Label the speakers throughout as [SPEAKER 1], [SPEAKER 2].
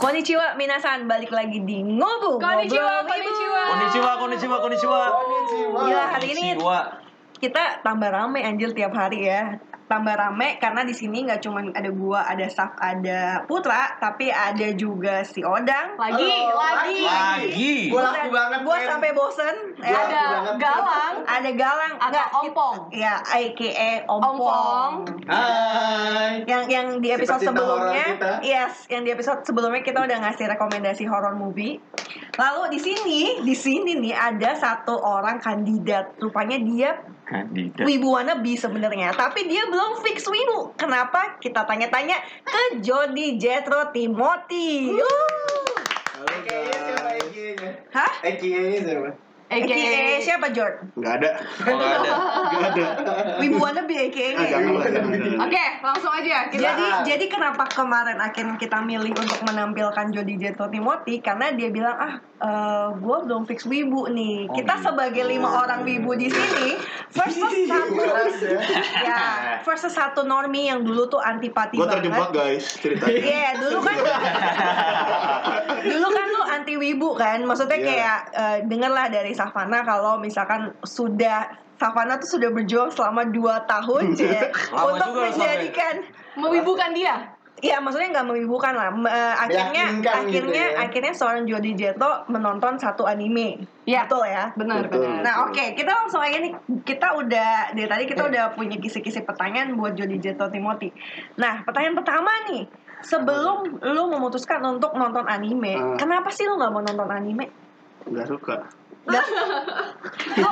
[SPEAKER 1] Konnichiwa minasan balik lagi di ngobu Ngobrol
[SPEAKER 2] Konnichiwa,
[SPEAKER 1] Ibu.
[SPEAKER 2] konnichiwa.
[SPEAKER 3] Konnichiwa, konnichiwa, konnichiwa.
[SPEAKER 1] Gila Iya, hari ini
[SPEAKER 3] Konnichiwa.
[SPEAKER 1] kita tambah rame anjir tiap hari ya. Tambah rame karena di sini nggak cuman ada gua, ada Saf, ada Putra, tapi ada juga si Odang.
[SPEAKER 2] Lagi,
[SPEAKER 4] Halo,
[SPEAKER 2] lagi.
[SPEAKER 3] Lagi.
[SPEAKER 4] Gua laku banget.
[SPEAKER 1] Gua
[SPEAKER 4] men.
[SPEAKER 1] sampai bosen.
[SPEAKER 4] Gua
[SPEAKER 1] Eh,
[SPEAKER 4] laku
[SPEAKER 2] Ada
[SPEAKER 4] banget.
[SPEAKER 2] Galang,
[SPEAKER 1] ada Galang,
[SPEAKER 2] Ada
[SPEAKER 1] Nggak, kita-
[SPEAKER 2] Ompong.
[SPEAKER 1] Ya, aka Ompong.
[SPEAKER 2] Ompong.
[SPEAKER 4] Hai.
[SPEAKER 1] Yang yang di episode
[SPEAKER 4] Pecinta horor
[SPEAKER 1] sebelumnya,
[SPEAKER 4] kita.
[SPEAKER 1] yes, yang di episode sebelumnya kita udah ngasih rekomendasi horror movie. Lalu di sini, di sini nih ada satu orang kandidat. Rupanya dia
[SPEAKER 3] Kandidat.
[SPEAKER 1] wibu wannabe sebenarnya, tapi dia belum fix wibu. Kenapa? Kita tanya-tanya ke Jody Jetro Timothy. Wuh.
[SPEAKER 4] AKA siapa AKA-nya?
[SPEAKER 1] Hah?
[SPEAKER 4] AKA-nya siapa?
[SPEAKER 1] AKA siapa Jord?
[SPEAKER 5] Nggak ada.
[SPEAKER 3] Oh, nggak ada.
[SPEAKER 5] Nggak ada.
[SPEAKER 1] Wibu wannabe AKA.
[SPEAKER 5] Ah, jangan lah, jangan, jangan.
[SPEAKER 2] Oke, langsung aja. Kita
[SPEAKER 1] Jadi
[SPEAKER 3] Iya.
[SPEAKER 4] Silakan.
[SPEAKER 1] jadi kenapa kemarin akhirnya kita milih untuk menampilkan Jody Jeto Timothy karena dia bilang ah gue belum fix wibu nih.
[SPEAKER 3] Oh,
[SPEAKER 1] kita
[SPEAKER 3] gitu.
[SPEAKER 1] sebagai lima orang wibu di sini versus satu
[SPEAKER 4] Keras ya.
[SPEAKER 1] ya versus satu normi yang dulu tuh antipati
[SPEAKER 5] Gue
[SPEAKER 1] banget.
[SPEAKER 5] terjebak guys ceritanya.
[SPEAKER 1] Iya, dulu kan dulu kan lu anti wibu kan. Maksudnya
[SPEAKER 5] Iya.
[SPEAKER 1] kayak eh, dengarlah dari Savana kalau misalkan sudah Savana tuh sudah berjuang selama 2 tahun ya,
[SPEAKER 3] Lama
[SPEAKER 1] untuk
[SPEAKER 3] juga lu sampai.
[SPEAKER 1] menjadikan
[SPEAKER 2] mewibukan dia.
[SPEAKER 1] Iya maksudnya nggak mewibukan lah. Me- eh, akhirnya
[SPEAKER 4] Meyakinkan gitu
[SPEAKER 1] akhirnya
[SPEAKER 4] ya.
[SPEAKER 1] akhirnya seorang Jody Jeto menonton satu anime.
[SPEAKER 2] Iya.
[SPEAKER 1] Betul ya.
[SPEAKER 2] Benar,
[SPEAKER 5] Iya, Betul. Iya.
[SPEAKER 2] benar.
[SPEAKER 1] Nah oke kita langsung aja nih kita udah dari tadi kita udah punya kisi-kisi pertanyaan buat Jody Jeto Timothy. Nah pertanyaan pertama nih sebelum lu memutuskan untuk nonton anime,
[SPEAKER 5] Ah.
[SPEAKER 1] kenapa sih lu nggak mau nonton anime?
[SPEAKER 5] Nggak suka.
[SPEAKER 1] Lu, eh, lu,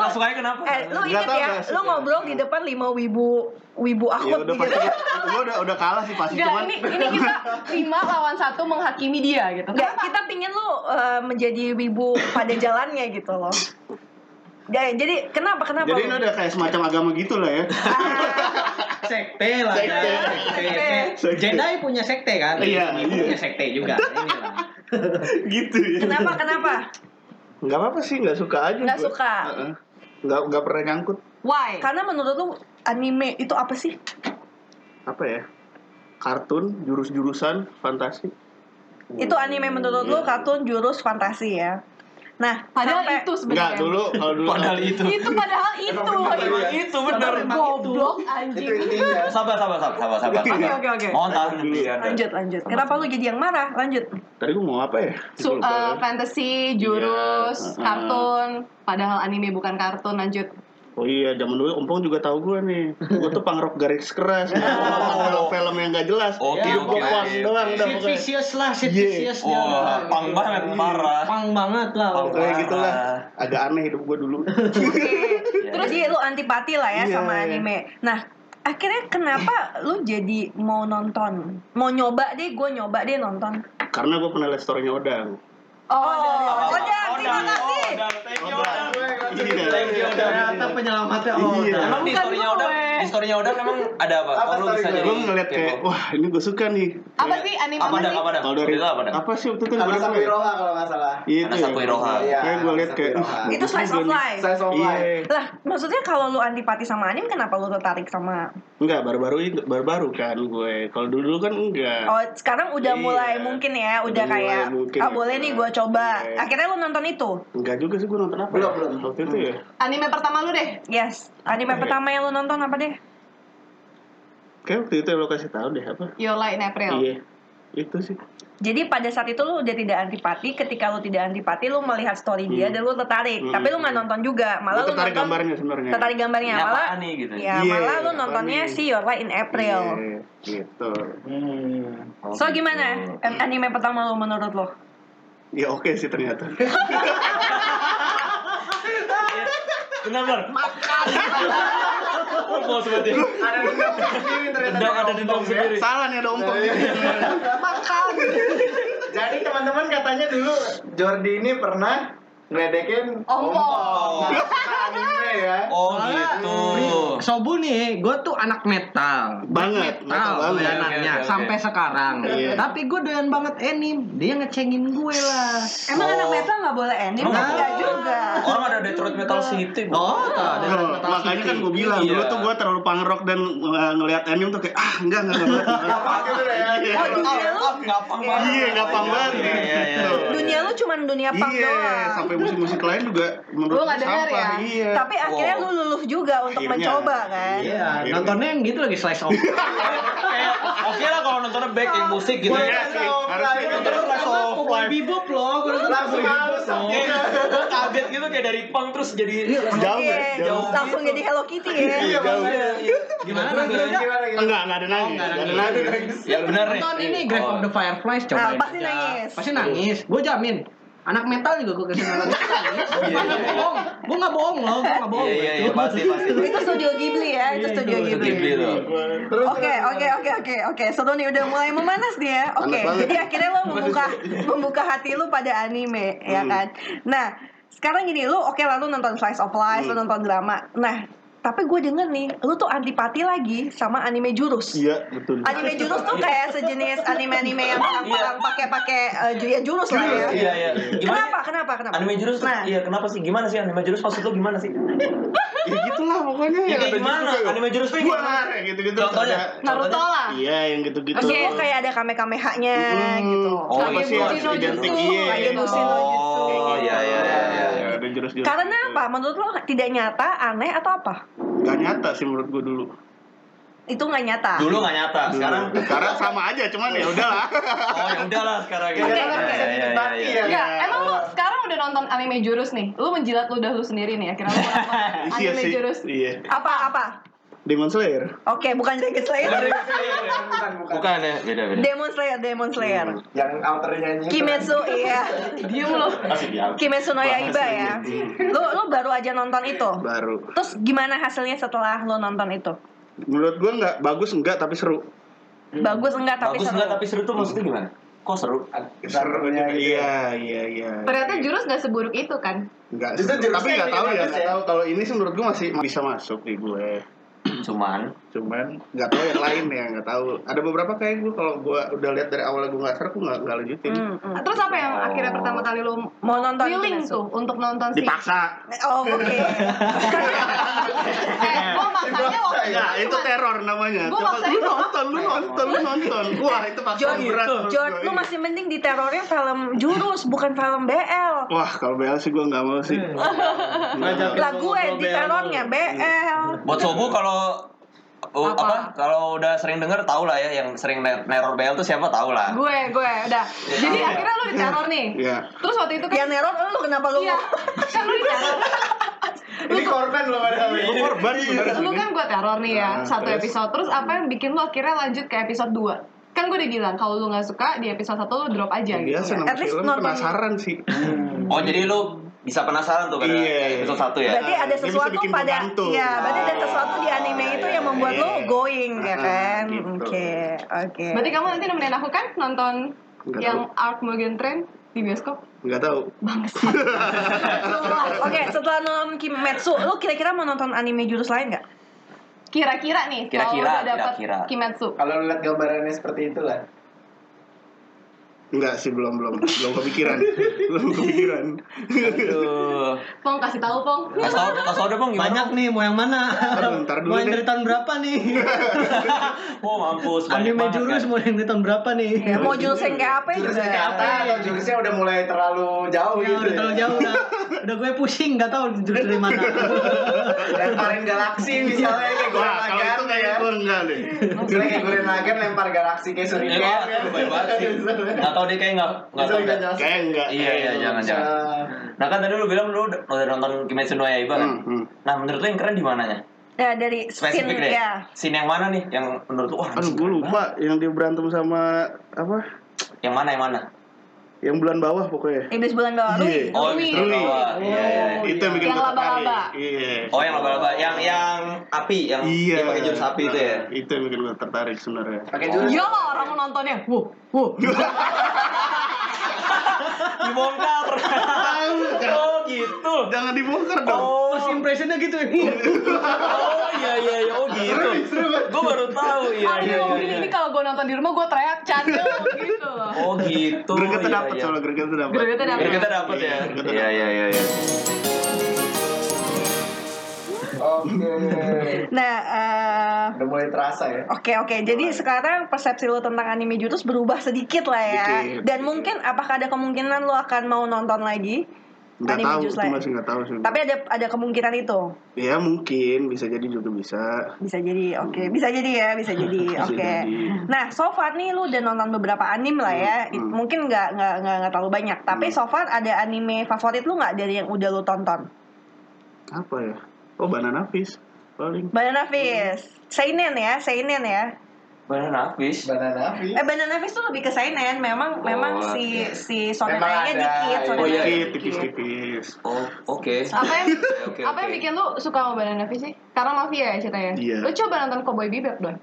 [SPEAKER 3] Langsung aja kenapa?
[SPEAKER 1] eh, lu
[SPEAKER 5] Nggak
[SPEAKER 1] inget
[SPEAKER 5] tahu,
[SPEAKER 1] ya,
[SPEAKER 5] nggak suka.
[SPEAKER 1] lu ngobrol di depan lima wibu wibu
[SPEAKER 5] Ya
[SPEAKER 1] akut
[SPEAKER 5] udah
[SPEAKER 1] gitu.
[SPEAKER 5] pasti. Gue udah udah kalah sih pasti
[SPEAKER 2] Enggak,
[SPEAKER 5] cuman.
[SPEAKER 2] ini ini kita lima lawan satu menghakimi dia gitu.
[SPEAKER 1] Nggak, kita pingin lu eh, menjadi wibu pada jalannya gitu loh. Ya, jadi kenapa kenapa? Ah,
[SPEAKER 5] Jadi
[SPEAKER 1] lu?
[SPEAKER 5] ini udah kayak semacam agama gitu lah ya.
[SPEAKER 1] Iya.
[SPEAKER 6] sekte lah ya.
[SPEAKER 5] Sekte.
[SPEAKER 6] Sekte.
[SPEAKER 5] Sekte.
[SPEAKER 6] Jedi punya sekte kan
[SPEAKER 5] Iya,
[SPEAKER 6] Ini
[SPEAKER 5] iya.
[SPEAKER 6] punya sekte juga Ini lah.
[SPEAKER 5] gitu ya.
[SPEAKER 1] Kenapa kenapa?
[SPEAKER 5] Nggak apa-apa sih, nggak suka aja.
[SPEAKER 1] Nggak
[SPEAKER 5] gua.
[SPEAKER 1] suka.
[SPEAKER 5] Heeh. Nggak nggak pernah nyangkut
[SPEAKER 2] Why?
[SPEAKER 1] Karena menurut lu anime itu apa sih?
[SPEAKER 5] apa ya? Kartun, jurus-jurusan, fantasi.
[SPEAKER 1] Itu anime menurut lu kartun jurus fantasi ya. Nah,
[SPEAKER 2] Padahal
[SPEAKER 1] sampai-
[SPEAKER 2] itu
[SPEAKER 5] Nggak
[SPEAKER 2] sebenarnya.
[SPEAKER 5] dulu kalau dulu.
[SPEAKER 3] Padahal itu.
[SPEAKER 2] Itu padahal itu.
[SPEAKER 4] Emang bener,
[SPEAKER 3] Emang itu bener.
[SPEAKER 2] Bener
[SPEAKER 3] Emang itu.
[SPEAKER 2] goblok
[SPEAKER 4] Itu
[SPEAKER 2] anjing.
[SPEAKER 4] intinya.
[SPEAKER 3] Sabar, sabar, sabar, sabar, sabar.
[SPEAKER 1] Oke oke oke.
[SPEAKER 5] Oh,
[SPEAKER 3] Mohon tahan dulu.
[SPEAKER 1] Lanjut lanjut. Kenapa lu jadi yang marah? Lanjut.
[SPEAKER 5] Tadi gue mau apa ya?
[SPEAKER 2] Su-
[SPEAKER 5] Gua lupa
[SPEAKER 2] eh,
[SPEAKER 5] ya.
[SPEAKER 2] fantasy, jurus,
[SPEAKER 5] Iya, uh-uh.
[SPEAKER 2] kartun, padahal anime bukan kartun lanjut.
[SPEAKER 5] Oh iya, zaman dulu Ompong juga tahu gue nih. Gue tuh pangrok garis keras. Film-film yang gak jelas. Iya,
[SPEAKER 3] Oke,
[SPEAKER 5] Gua
[SPEAKER 3] oke,
[SPEAKER 5] puas
[SPEAKER 3] oke,
[SPEAKER 5] doang
[SPEAKER 3] oke.
[SPEAKER 5] dah
[SPEAKER 6] Sid
[SPEAKER 5] pokoknya.
[SPEAKER 6] vicious lah Sid
[SPEAKER 5] Iya.
[SPEAKER 6] vicious dia lah.
[SPEAKER 3] Wah, pang banget, parah.
[SPEAKER 6] Pang banget lah
[SPEAKER 3] Pang
[SPEAKER 5] Kayak gitu.
[SPEAKER 3] parah.
[SPEAKER 5] gitulah. Agak aneh hidup gue dulu.
[SPEAKER 1] Terus dia lu antipati lah ya
[SPEAKER 5] Iya,
[SPEAKER 1] sama
[SPEAKER 5] iya.
[SPEAKER 1] anime. Nah, akhirnya kenapa lu jadi mau nonton? Mau nyoba deh, gue nyoba deh nonton.
[SPEAKER 5] Karena gue pernah liat story-nya Odang.
[SPEAKER 1] Oh, oh,
[SPEAKER 3] Odang,
[SPEAKER 1] terima kasih.
[SPEAKER 3] Odang, thank you, Odang.
[SPEAKER 4] Gue yang langsung
[SPEAKER 5] Iya,
[SPEAKER 4] gitu.
[SPEAKER 5] iya, iya.
[SPEAKER 6] Ternyata penyelamatnya oh
[SPEAKER 5] Iya.
[SPEAKER 6] udah.
[SPEAKER 3] Emang di
[SPEAKER 2] Bukan
[SPEAKER 3] story-nya
[SPEAKER 2] gue.
[SPEAKER 3] Odang, di story-nya Odang emang ada apa?
[SPEAKER 4] Apa
[SPEAKER 3] Kok lu
[SPEAKER 4] story
[SPEAKER 3] bisa
[SPEAKER 4] gue?
[SPEAKER 3] jadi
[SPEAKER 5] Gue ngeliat kayak,
[SPEAKER 3] kepo?
[SPEAKER 5] wah ini gue suka nih.
[SPEAKER 2] Apa
[SPEAKER 5] Kayak-
[SPEAKER 2] sih anime
[SPEAKER 3] apa
[SPEAKER 2] apa
[SPEAKER 3] dah,
[SPEAKER 2] sih?
[SPEAKER 3] apa dah?
[SPEAKER 5] Kalau dari
[SPEAKER 3] Cerita apa dah?
[SPEAKER 5] apa sih waktu itu
[SPEAKER 4] Karena
[SPEAKER 5] gue
[SPEAKER 4] sama Iroha kalau nggak salah.
[SPEAKER 5] Iya
[SPEAKER 3] Karena
[SPEAKER 5] itu
[SPEAKER 3] satu Iroha.
[SPEAKER 5] ya. Kayak gue liat kayak,
[SPEAKER 4] Iya,
[SPEAKER 5] "Ih,
[SPEAKER 4] sama
[SPEAKER 1] Itu
[SPEAKER 5] bagus
[SPEAKER 1] slice
[SPEAKER 5] juga
[SPEAKER 1] of
[SPEAKER 5] nih."
[SPEAKER 1] life.
[SPEAKER 4] Size of
[SPEAKER 5] Iya.
[SPEAKER 4] life.
[SPEAKER 1] Lah, maksudnya kalau lu antipati sama anime kenapa lu tertarik sama
[SPEAKER 5] Enggak, baru-baru itu, baru-baru kan gue. Kalau dulu-dulu kan enggak.
[SPEAKER 1] Oh, sekarang udah
[SPEAKER 5] Iya.
[SPEAKER 1] mulai mungkin ya, udah,
[SPEAKER 5] Udah mulai
[SPEAKER 1] kayak
[SPEAKER 5] mungkin
[SPEAKER 1] ah
[SPEAKER 5] ya,
[SPEAKER 1] boleh
[SPEAKER 5] Kak."
[SPEAKER 1] nih gua coba.
[SPEAKER 5] Iya.
[SPEAKER 1] Akhirnya lu nonton itu.
[SPEAKER 5] Enggak juga sih gue nonton apa.
[SPEAKER 4] Belum, Hmm.
[SPEAKER 5] ya?
[SPEAKER 4] belum.
[SPEAKER 5] Waktu itu ya.
[SPEAKER 2] Anime pertama lu deh.
[SPEAKER 1] Yes. Anime
[SPEAKER 5] Iya.
[SPEAKER 1] pertama yang lu nonton apa deh?
[SPEAKER 5] Kayak waktu itu yang lo kasih tau deh apa.
[SPEAKER 2] Yola in April.
[SPEAKER 5] Iya. Itu sih.
[SPEAKER 1] Jadi pada saat itu lu udah tidak antipati, ketika lu tidak antipati lu melihat story dia
[SPEAKER 5] Hmm.
[SPEAKER 1] dan lu tertarik.
[SPEAKER 5] Hmm.
[SPEAKER 1] Tapi lu nggak nonton juga, malah lu
[SPEAKER 5] Gue tertarik
[SPEAKER 1] nonton
[SPEAKER 5] gambarnya sebenarnya.
[SPEAKER 1] tertarik gambarnya
[SPEAKER 3] Ini
[SPEAKER 1] malah
[SPEAKER 3] apaan nih gitu?
[SPEAKER 1] ya
[SPEAKER 5] Iya,
[SPEAKER 1] malah lu
[SPEAKER 5] apaan
[SPEAKER 1] nontonnya
[SPEAKER 5] nih?
[SPEAKER 1] si Your Lie in April.
[SPEAKER 5] Iya, gitu. Iya.
[SPEAKER 3] Oh,
[SPEAKER 1] So gimana?
[SPEAKER 3] gitu.
[SPEAKER 1] Anime pertama lu menurut lo?
[SPEAKER 5] Ya oke sih ternyata.
[SPEAKER 3] Benar, benar. Makan. Mau seperti itu.
[SPEAKER 4] Ada dendam sendiri ternyata.
[SPEAKER 3] Dendam, ada dendam
[SPEAKER 4] Ompong, ya.
[SPEAKER 3] sendiri.
[SPEAKER 5] Salah nih ada ompong.
[SPEAKER 4] Makan. Jadi teman-teman katanya dulu Jordi ini pernah ngeledekin
[SPEAKER 2] Ompong.
[SPEAKER 4] Nggak suka anime. ya.
[SPEAKER 3] Oh
[SPEAKER 6] Soalnya,
[SPEAKER 3] gitu.
[SPEAKER 6] nih, Sobu nih, gue tuh anak metal,
[SPEAKER 5] Banget, metal
[SPEAKER 6] metal
[SPEAKER 5] banget.
[SPEAKER 6] doyanannya
[SPEAKER 3] Oke, oke, oke.
[SPEAKER 6] sampai sekarang.
[SPEAKER 5] Iya.
[SPEAKER 6] Tapi gue doyan banget anime, dia ngecengin gue lah.
[SPEAKER 1] Emang
[SPEAKER 3] Oh.
[SPEAKER 1] anak metal nggak boleh anime?
[SPEAKER 3] Emang nggak
[SPEAKER 1] Enggak
[SPEAKER 3] boleh?
[SPEAKER 1] juga.
[SPEAKER 3] Orang ada Detroit Metal City. Bu.
[SPEAKER 6] Oh, tak ada
[SPEAKER 5] Loh,
[SPEAKER 6] metal
[SPEAKER 5] makanya
[SPEAKER 6] city.
[SPEAKER 5] kan gue bilang dulu
[SPEAKER 3] Iya.
[SPEAKER 5] tuh gue terlalu pangrok dan uh, ngelihat anime tuh kayak ah enggak enggak
[SPEAKER 3] Iya,
[SPEAKER 5] enggak, Iya. enggak.
[SPEAKER 4] Apa gitu deh ya.
[SPEAKER 1] Oh, dunia lu,
[SPEAKER 3] gampang
[SPEAKER 1] Iya,
[SPEAKER 5] Ah, Iya, gampang banget.
[SPEAKER 3] Iya, iya, iya,
[SPEAKER 5] Tuh.
[SPEAKER 3] iya.
[SPEAKER 1] dunia lu cuman dunia punk
[SPEAKER 5] Iya,
[SPEAKER 1] doang.
[SPEAKER 5] sampai musik-musik lain juga menurut
[SPEAKER 2] Lu nggak
[SPEAKER 5] gua
[SPEAKER 2] denger
[SPEAKER 5] sampah.
[SPEAKER 2] ya?
[SPEAKER 5] Iya.
[SPEAKER 1] Tapi akhirnya lu
[SPEAKER 3] Wow.
[SPEAKER 1] luluh juga untuk
[SPEAKER 5] Akhirnya.
[SPEAKER 1] mencoba kan.
[SPEAKER 5] Iya.
[SPEAKER 6] Iya, nontonnya yang gitu lagi slice of life.
[SPEAKER 3] Kayak, Oke lah kalau nontonnya back yang musik gitu
[SPEAKER 5] Iya,
[SPEAKER 3] ya.
[SPEAKER 5] sih. Harus
[SPEAKER 4] Iya.
[SPEAKER 5] nonton
[SPEAKER 3] Nontonnya Flash of
[SPEAKER 6] Cowboy
[SPEAKER 3] Life.
[SPEAKER 6] bebop loh, gue nonton
[SPEAKER 4] Langsung
[SPEAKER 6] Cowboy
[SPEAKER 4] halus.
[SPEAKER 6] Bebop loh.
[SPEAKER 4] Iya.
[SPEAKER 3] Gue kaget gitu kayak dari punk terus jadi
[SPEAKER 5] Jauh
[SPEAKER 1] Oke,
[SPEAKER 5] ya, jauh.
[SPEAKER 1] langsung jadi Hello Kitty ya.
[SPEAKER 4] Iya, Bang.
[SPEAKER 6] Gimana
[SPEAKER 3] Terus,
[SPEAKER 6] nangis?
[SPEAKER 3] ya?
[SPEAKER 4] Gimana gitu?
[SPEAKER 5] Enggak, enggak ada nangis.
[SPEAKER 6] enggak
[SPEAKER 5] Enggak ada
[SPEAKER 6] nangis.
[SPEAKER 5] nangis.
[SPEAKER 3] Ya benar nih. Oh,
[SPEAKER 6] Nonton ini Grave of the Fireflies coba.
[SPEAKER 1] Nah, pasti nangis.
[SPEAKER 6] Pasti nangis. Gue jamin. Anak metal juga gue kesini lagi. Gue nggak bohong. Gue nggak bohong loh. Gue nggak bohong.
[SPEAKER 3] Iya iya iya
[SPEAKER 6] Itu.
[SPEAKER 3] pasti pasti.
[SPEAKER 1] Itu studio Ghibli ya, itu studio
[SPEAKER 6] itu
[SPEAKER 1] Ghibli.
[SPEAKER 3] Ghibli tuh.
[SPEAKER 4] Terus,
[SPEAKER 1] Oke,
[SPEAKER 4] terus,
[SPEAKER 1] oke, oke, oke, oke. Soto nih udah mulai memanas dia. Oke,
[SPEAKER 5] Panas banget.
[SPEAKER 1] jadi akhirnya lo membuka membuka hati lu pada anime, ya
[SPEAKER 5] Hmm.
[SPEAKER 1] kan? Nah, sekarang gini, lu oke lah lalu nonton slice of life, lu
[SPEAKER 5] Hmm.
[SPEAKER 1] nonton drama. Nah, tapi gue denger nih, lu tuh antipati lagi sama anime jurus.
[SPEAKER 5] Iya, betul.
[SPEAKER 1] Anime jurus tuh kayak sejenis anime-anime yang orang-orang pakai-pakai eh, ju- ya jurus lah ya.
[SPEAKER 3] Iya iya. Gimana?
[SPEAKER 1] Kenapa? Kenapa? Kenapa?
[SPEAKER 3] Anime jurus tuh,
[SPEAKER 1] Nah,
[SPEAKER 3] iya kenapa sih? Gimana sih anime jurus maksud lu gimana sih?
[SPEAKER 5] Ya gitulah pokoknya
[SPEAKER 3] Ya,
[SPEAKER 5] ya.
[SPEAKER 3] kayak gimana? Anime jurus tuh
[SPEAKER 5] Gue
[SPEAKER 3] gimana?
[SPEAKER 5] gitu-gitu.
[SPEAKER 3] Contohnya?
[SPEAKER 5] Ada-
[SPEAKER 2] Naruto lah.
[SPEAKER 5] Iya, yang gitu-gitu.
[SPEAKER 1] maksudnya kayak ada kamehameha-nya gitu.
[SPEAKER 3] Oh,
[SPEAKER 5] apa sih yang
[SPEAKER 3] Kagebushi no
[SPEAKER 5] identik?
[SPEAKER 2] jutsu,
[SPEAKER 5] Iya.
[SPEAKER 1] Kagebushi no jutsu.
[SPEAKER 3] Oh
[SPEAKER 2] gitu.
[SPEAKER 3] iya iya iya. iya.
[SPEAKER 5] Ada jurus-jurus. gitu.
[SPEAKER 1] Karena apa? Menurut lo tidak nyata, aneh atau apa?
[SPEAKER 5] Gak nyata sih menurut gue dulu.
[SPEAKER 1] Itu nggak nyata.
[SPEAKER 3] Dulu nggak nyata,
[SPEAKER 5] Dulu.
[SPEAKER 3] Nah, sekarang
[SPEAKER 5] sekarang Hmm, sama aja, cuman ya udahlah.
[SPEAKER 3] oh ya udahlah sekarang ya.
[SPEAKER 1] Oke,
[SPEAKER 3] Iya,
[SPEAKER 1] oke.
[SPEAKER 3] iya, iya, iya, iya.
[SPEAKER 2] Ya, emang lu sekarang udah nonton anime jurus nih. Lu menjilat ludah lu sendiri nih akhirnya lu nonton
[SPEAKER 5] Iya
[SPEAKER 2] anime
[SPEAKER 5] sih.
[SPEAKER 2] jurus.
[SPEAKER 5] Iya.
[SPEAKER 1] Apa apa?
[SPEAKER 5] Demon Slayer.
[SPEAKER 1] Oke, bukan Dragon Slayer.
[SPEAKER 4] Bukan, bukan.
[SPEAKER 3] Bukan ya, beda beda.
[SPEAKER 1] Demon Slayer, Demon Slayer.
[SPEAKER 5] Hmm,
[SPEAKER 4] Yang outer nyanyi. itu kan.
[SPEAKER 1] Kimetsu iya.
[SPEAKER 2] Diem lu.
[SPEAKER 3] Masih diam.
[SPEAKER 1] Kimetsu no Yaiba ya. Lu lu baru aja nonton itu.
[SPEAKER 5] Baru.
[SPEAKER 1] Terus gimana hasilnya setelah lo nonton itu?
[SPEAKER 5] Menurut gue nggak bagus enggak tapi seru.
[SPEAKER 1] Bagus enggak tapi
[SPEAKER 3] Hmm. Bagus
[SPEAKER 1] seru?
[SPEAKER 3] enggak tapi seru tuh maksudnya gimana? Kok seru? ya.
[SPEAKER 4] Serunya gitu.
[SPEAKER 5] Iya, iya, iya.
[SPEAKER 2] Ternyata jurus gak seburuk itu kan.
[SPEAKER 5] Enggak,
[SPEAKER 4] Justru
[SPEAKER 5] seru. tapi
[SPEAKER 4] jurusnya
[SPEAKER 5] nggak
[SPEAKER 4] yang
[SPEAKER 5] tahu ya,
[SPEAKER 4] bagus
[SPEAKER 5] nggak
[SPEAKER 4] ya.
[SPEAKER 5] tahu. Kalau ini sih menurut gue masih bisa masuk di ya. gue.
[SPEAKER 3] Cuman
[SPEAKER 5] Cuman nggak tahu yang lain ya, nggak tahu. Ada beberapa kayak gue kalau gue udah lihat dari awal gue nggak seru, gue nggak nggak lanjutin.
[SPEAKER 1] Hmm, hmm.
[SPEAKER 2] Terus apa yang akhirnya pertama kali lu
[SPEAKER 1] Mau nonton
[SPEAKER 2] willing
[SPEAKER 1] Kimetsu?
[SPEAKER 2] tuh untuk nonton si
[SPEAKER 5] Dipaksa.
[SPEAKER 1] Oh, oke.
[SPEAKER 2] Eh, gua maksanya waktu
[SPEAKER 4] Dipaksa,
[SPEAKER 2] itu
[SPEAKER 5] Nah, itu
[SPEAKER 2] cuma-
[SPEAKER 5] teror namanya.
[SPEAKER 2] Gua
[SPEAKER 5] Coba
[SPEAKER 2] maksain
[SPEAKER 5] lu
[SPEAKER 2] dong.
[SPEAKER 5] nonton, lu nonton, lu nonton. Wah, itu
[SPEAKER 1] John,
[SPEAKER 5] paksaan berat. menurut
[SPEAKER 1] John,
[SPEAKER 5] gua.
[SPEAKER 1] lu masih mending di terornya film jurus bukan film BL.
[SPEAKER 5] Wah, kalau BL sih gue nggak mau sih.
[SPEAKER 2] Hmm.
[SPEAKER 5] Nggak mau.
[SPEAKER 1] Lah gue di terornya BL.
[SPEAKER 3] buat Sobu kalau oh,
[SPEAKER 2] Apa?
[SPEAKER 3] apa? Kalau udah sering denger tau lah ya yang sering ner- neror BL tuh siapa tau lah.
[SPEAKER 2] gue gue udah. Jadi akhirnya lu diteror nih.
[SPEAKER 5] Oh, Iya.
[SPEAKER 2] Terus waktu itu
[SPEAKER 1] Yang
[SPEAKER 2] kan
[SPEAKER 1] neror lu kenapa lu?
[SPEAKER 2] iya. Kan lu diteror.
[SPEAKER 4] Ini korban loh padahal.
[SPEAKER 5] Gua korban sebenarnya.
[SPEAKER 2] kan Lu kan gue teror nih ya,
[SPEAKER 5] Nah,
[SPEAKER 2] satu
[SPEAKER 5] terus?
[SPEAKER 2] episode. Terus apa yang bikin lu akhirnya lanjut ke episode 2? Kan gue udah bilang kalau lu nggak suka di episode 1 lu drop aja gitu.
[SPEAKER 5] Biasa
[SPEAKER 2] ya.
[SPEAKER 5] nama
[SPEAKER 1] At least
[SPEAKER 5] film
[SPEAKER 1] nonton-
[SPEAKER 5] penasaran sih.
[SPEAKER 2] Hmm.
[SPEAKER 3] Oh jadi lu bisa penasaran tuh pada
[SPEAKER 5] Iya, iya.
[SPEAKER 3] episode satu ya.
[SPEAKER 1] Berarti ada
[SPEAKER 5] Dia bisa
[SPEAKER 1] sesuatu
[SPEAKER 5] bikin
[SPEAKER 1] pada
[SPEAKER 5] pembantu.
[SPEAKER 1] ya, berarti ada sesuatu di anime
[SPEAKER 3] Ah,
[SPEAKER 1] itu
[SPEAKER 3] iya,
[SPEAKER 1] yang membuat
[SPEAKER 5] iya,
[SPEAKER 1] lo
[SPEAKER 5] iya.
[SPEAKER 1] going ya
[SPEAKER 5] Ah,
[SPEAKER 1] kan.
[SPEAKER 5] gitu.
[SPEAKER 1] Oke, oke.
[SPEAKER 2] Berarti kamu nanti nemenin aku kan nonton
[SPEAKER 5] Nggak
[SPEAKER 2] yang Art Mugen Train di bioskop?
[SPEAKER 5] Nggak tahu.
[SPEAKER 1] Setelah- Oke, setelah nonton Kimetsu, lu kira-kira mau nonton anime jurus lain nggak?
[SPEAKER 2] Kira-kira nih, kalau
[SPEAKER 3] Kira-kira,
[SPEAKER 2] udah dapet
[SPEAKER 3] kira-kira.
[SPEAKER 2] Kimetsu.
[SPEAKER 4] Kalau lu lihat gambarannya seperti itulah.
[SPEAKER 5] Enggak sih belum belum belum kepikiran. belum kepikiran.
[SPEAKER 3] Aduh.
[SPEAKER 2] Pong kasih tahu Pong.
[SPEAKER 3] Mas tau, mas tau deh bang gimana?
[SPEAKER 6] Banyak nih, mau yang mana?
[SPEAKER 5] Aduh, ntar dulu
[SPEAKER 6] Mau yang
[SPEAKER 5] deh.
[SPEAKER 6] dari tahun berapa nih?
[SPEAKER 3] Oh mampus. banyak
[SPEAKER 6] Anime
[SPEAKER 3] banget,
[SPEAKER 6] jurus
[SPEAKER 3] kan?
[SPEAKER 6] mau yang dari tahun berapa nih?
[SPEAKER 1] Ya, mau jurus yang kayak apa ya, juga.
[SPEAKER 4] Jurusnya kayak apa? Atau jurusnya udah mulai terlalu jauh
[SPEAKER 6] Ya,
[SPEAKER 4] gitu.
[SPEAKER 6] udah terlalu jauh udah. Udah gue pusing, nggak tahu jurus dari mana.
[SPEAKER 4] Lemparin galaksi misalnya kayak
[SPEAKER 5] Wah,
[SPEAKER 4] gorengan
[SPEAKER 5] kalau itu
[SPEAKER 2] ya.
[SPEAKER 5] kayak gue enggak deh.
[SPEAKER 2] Iya.
[SPEAKER 4] Misalnya kayak gorengan lagan lempar galaksi kayak
[SPEAKER 3] Ini
[SPEAKER 4] suriken
[SPEAKER 3] banget, lebay banget sih. Nggak tau deh kayak nggak nggak
[SPEAKER 4] Bisa
[SPEAKER 3] tau
[SPEAKER 4] kita
[SPEAKER 3] deh.
[SPEAKER 4] jelasin.
[SPEAKER 5] Kayak enggak.
[SPEAKER 3] Iya iya jangan jangan. Nah kan tadi lu bilang lu udah udah nonton Kimetsu no Yaiba kan.
[SPEAKER 5] Hmm, hmm.
[SPEAKER 3] Nah menurut lu yang keren di mananya?
[SPEAKER 1] Ya dari skin
[SPEAKER 3] Spesifik deh.
[SPEAKER 1] ya.
[SPEAKER 3] Scene yang mana nih? Yang menurut lu wah.
[SPEAKER 5] Aduh, gue lupa yang dia berantem sama apa?
[SPEAKER 3] Yang mana yang mana?
[SPEAKER 5] Yang bulan bawah pokoknya.
[SPEAKER 1] Iblis bulan bawah Rui.
[SPEAKER 5] Iya.
[SPEAKER 3] Oh,
[SPEAKER 2] Rui.
[SPEAKER 3] Mr. Rawa. Iya, iya, iya.
[SPEAKER 5] itu yang bikin
[SPEAKER 2] Yang
[SPEAKER 5] gue tertarik.
[SPEAKER 2] laba-laba.
[SPEAKER 5] Iya.
[SPEAKER 3] Oh yang laba-laba, yang yang api, yang
[SPEAKER 5] Iya.
[SPEAKER 3] dia pakai jurus api itu ya.
[SPEAKER 5] Nah, Itu yang bikin gue tertarik sebenarnya.
[SPEAKER 4] Pakai jurus.
[SPEAKER 2] Iya lah orang mau nontonnya. Wuh, wuh.
[SPEAKER 3] Dibongkar. oh gitu.
[SPEAKER 5] Jangan dibongkar dong.
[SPEAKER 3] Oh.
[SPEAKER 6] First impressionnya gitu ya.
[SPEAKER 3] Oh iya iya iya oh gitu. Gue baru tahu iya
[SPEAKER 2] Ah, ini
[SPEAKER 3] iya
[SPEAKER 2] ngomong
[SPEAKER 3] iya.
[SPEAKER 2] gini, ini kalau gue nonton di rumah gue teriak candel gitu loh.
[SPEAKER 3] Oh gitu.
[SPEAKER 5] Gregetnya
[SPEAKER 3] iya,
[SPEAKER 5] dapet
[SPEAKER 3] iya.
[SPEAKER 5] soalnya gregetnya dapet.
[SPEAKER 2] Gregetnya dapet.
[SPEAKER 3] Biar kita dapat ya.
[SPEAKER 5] Gregetnya
[SPEAKER 3] Iya iya iya. iya.
[SPEAKER 4] Oke.
[SPEAKER 1] Nah, eh,
[SPEAKER 4] Udah mulai terasa ya.
[SPEAKER 1] Oke oke, jadi sekarang persepsi lo tentang anime Jujutsu berubah sedikit lah ya.
[SPEAKER 5] Sedikit.
[SPEAKER 1] Dan mungkin apakah ada kemungkinan lo akan mau nonton lagi
[SPEAKER 5] Nggak
[SPEAKER 1] anime
[SPEAKER 5] tahu,
[SPEAKER 1] Jujutsu
[SPEAKER 5] itu
[SPEAKER 1] lain?
[SPEAKER 5] masih nggak tahu sih.
[SPEAKER 1] Tapi ada ada kemungkinan itu
[SPEAKER 5] Ya mungkin bisa jadi juga bisa.
[SPEAKER 1] bisa jadi, oke bisa jadi ya bisa jadi,
[SPEAKER 5] Bisa
[SPEAKER 1] oke.
[SPEAKER 5] jadi.
[SPEAKER 1] Nah so far nih lo udah nonton beberapa anime lah ya,
[SPEAKER 5] Hmm, hmm.
[SPEAKER 1] mungkin nggak nggak nggak nggak terlalu banyak. Tapi so far ada anime favorit lo nggak dari yang udah lo tonton?
[SPEAKER 5] Apa ya? Oh banana fish paling.
[SPEAKER 1] Banana Fish, seinen ya, seinen ya.
[SPEAKER 3] Banana fish.
[SPEAKER 4] Banana Fish.
[SPEAKER 1] Eh Banana Fish tuh lebih ke seinen, memang
[SPEAKER 3] Oh,
[SPEAKER 1] memang si
[SPEAKER 3] oke.
[SPEAKER 1] si
[SPEAKER 4] Memang
[SPEAKER 1] sonenanya
[SPEAKER 4] ada,
[SPEAKER 1] dikit,
[SPEAKER 4] iya.
[SPEAKER 1] sonenanya
[SPEAKER 3] Oh, iya, iya,
[SPEAKER 5] Dikit, tipis-tipis.
[SPEAKER 3] Oh oke.
[SPEAKER 2] Apa yang
[SPEAKER 3] Oke,
[SPEAKER 2] apa yang
[SPEAKER 3] oke.
[SPEAKER 2] bikin lu suka sama Banana Fish sih? Karena mafia ya ceritanya.
[SPEAKER 5] Iya.
[SPEAKER 2] Lu coba nonton Cowboy Bebop dong.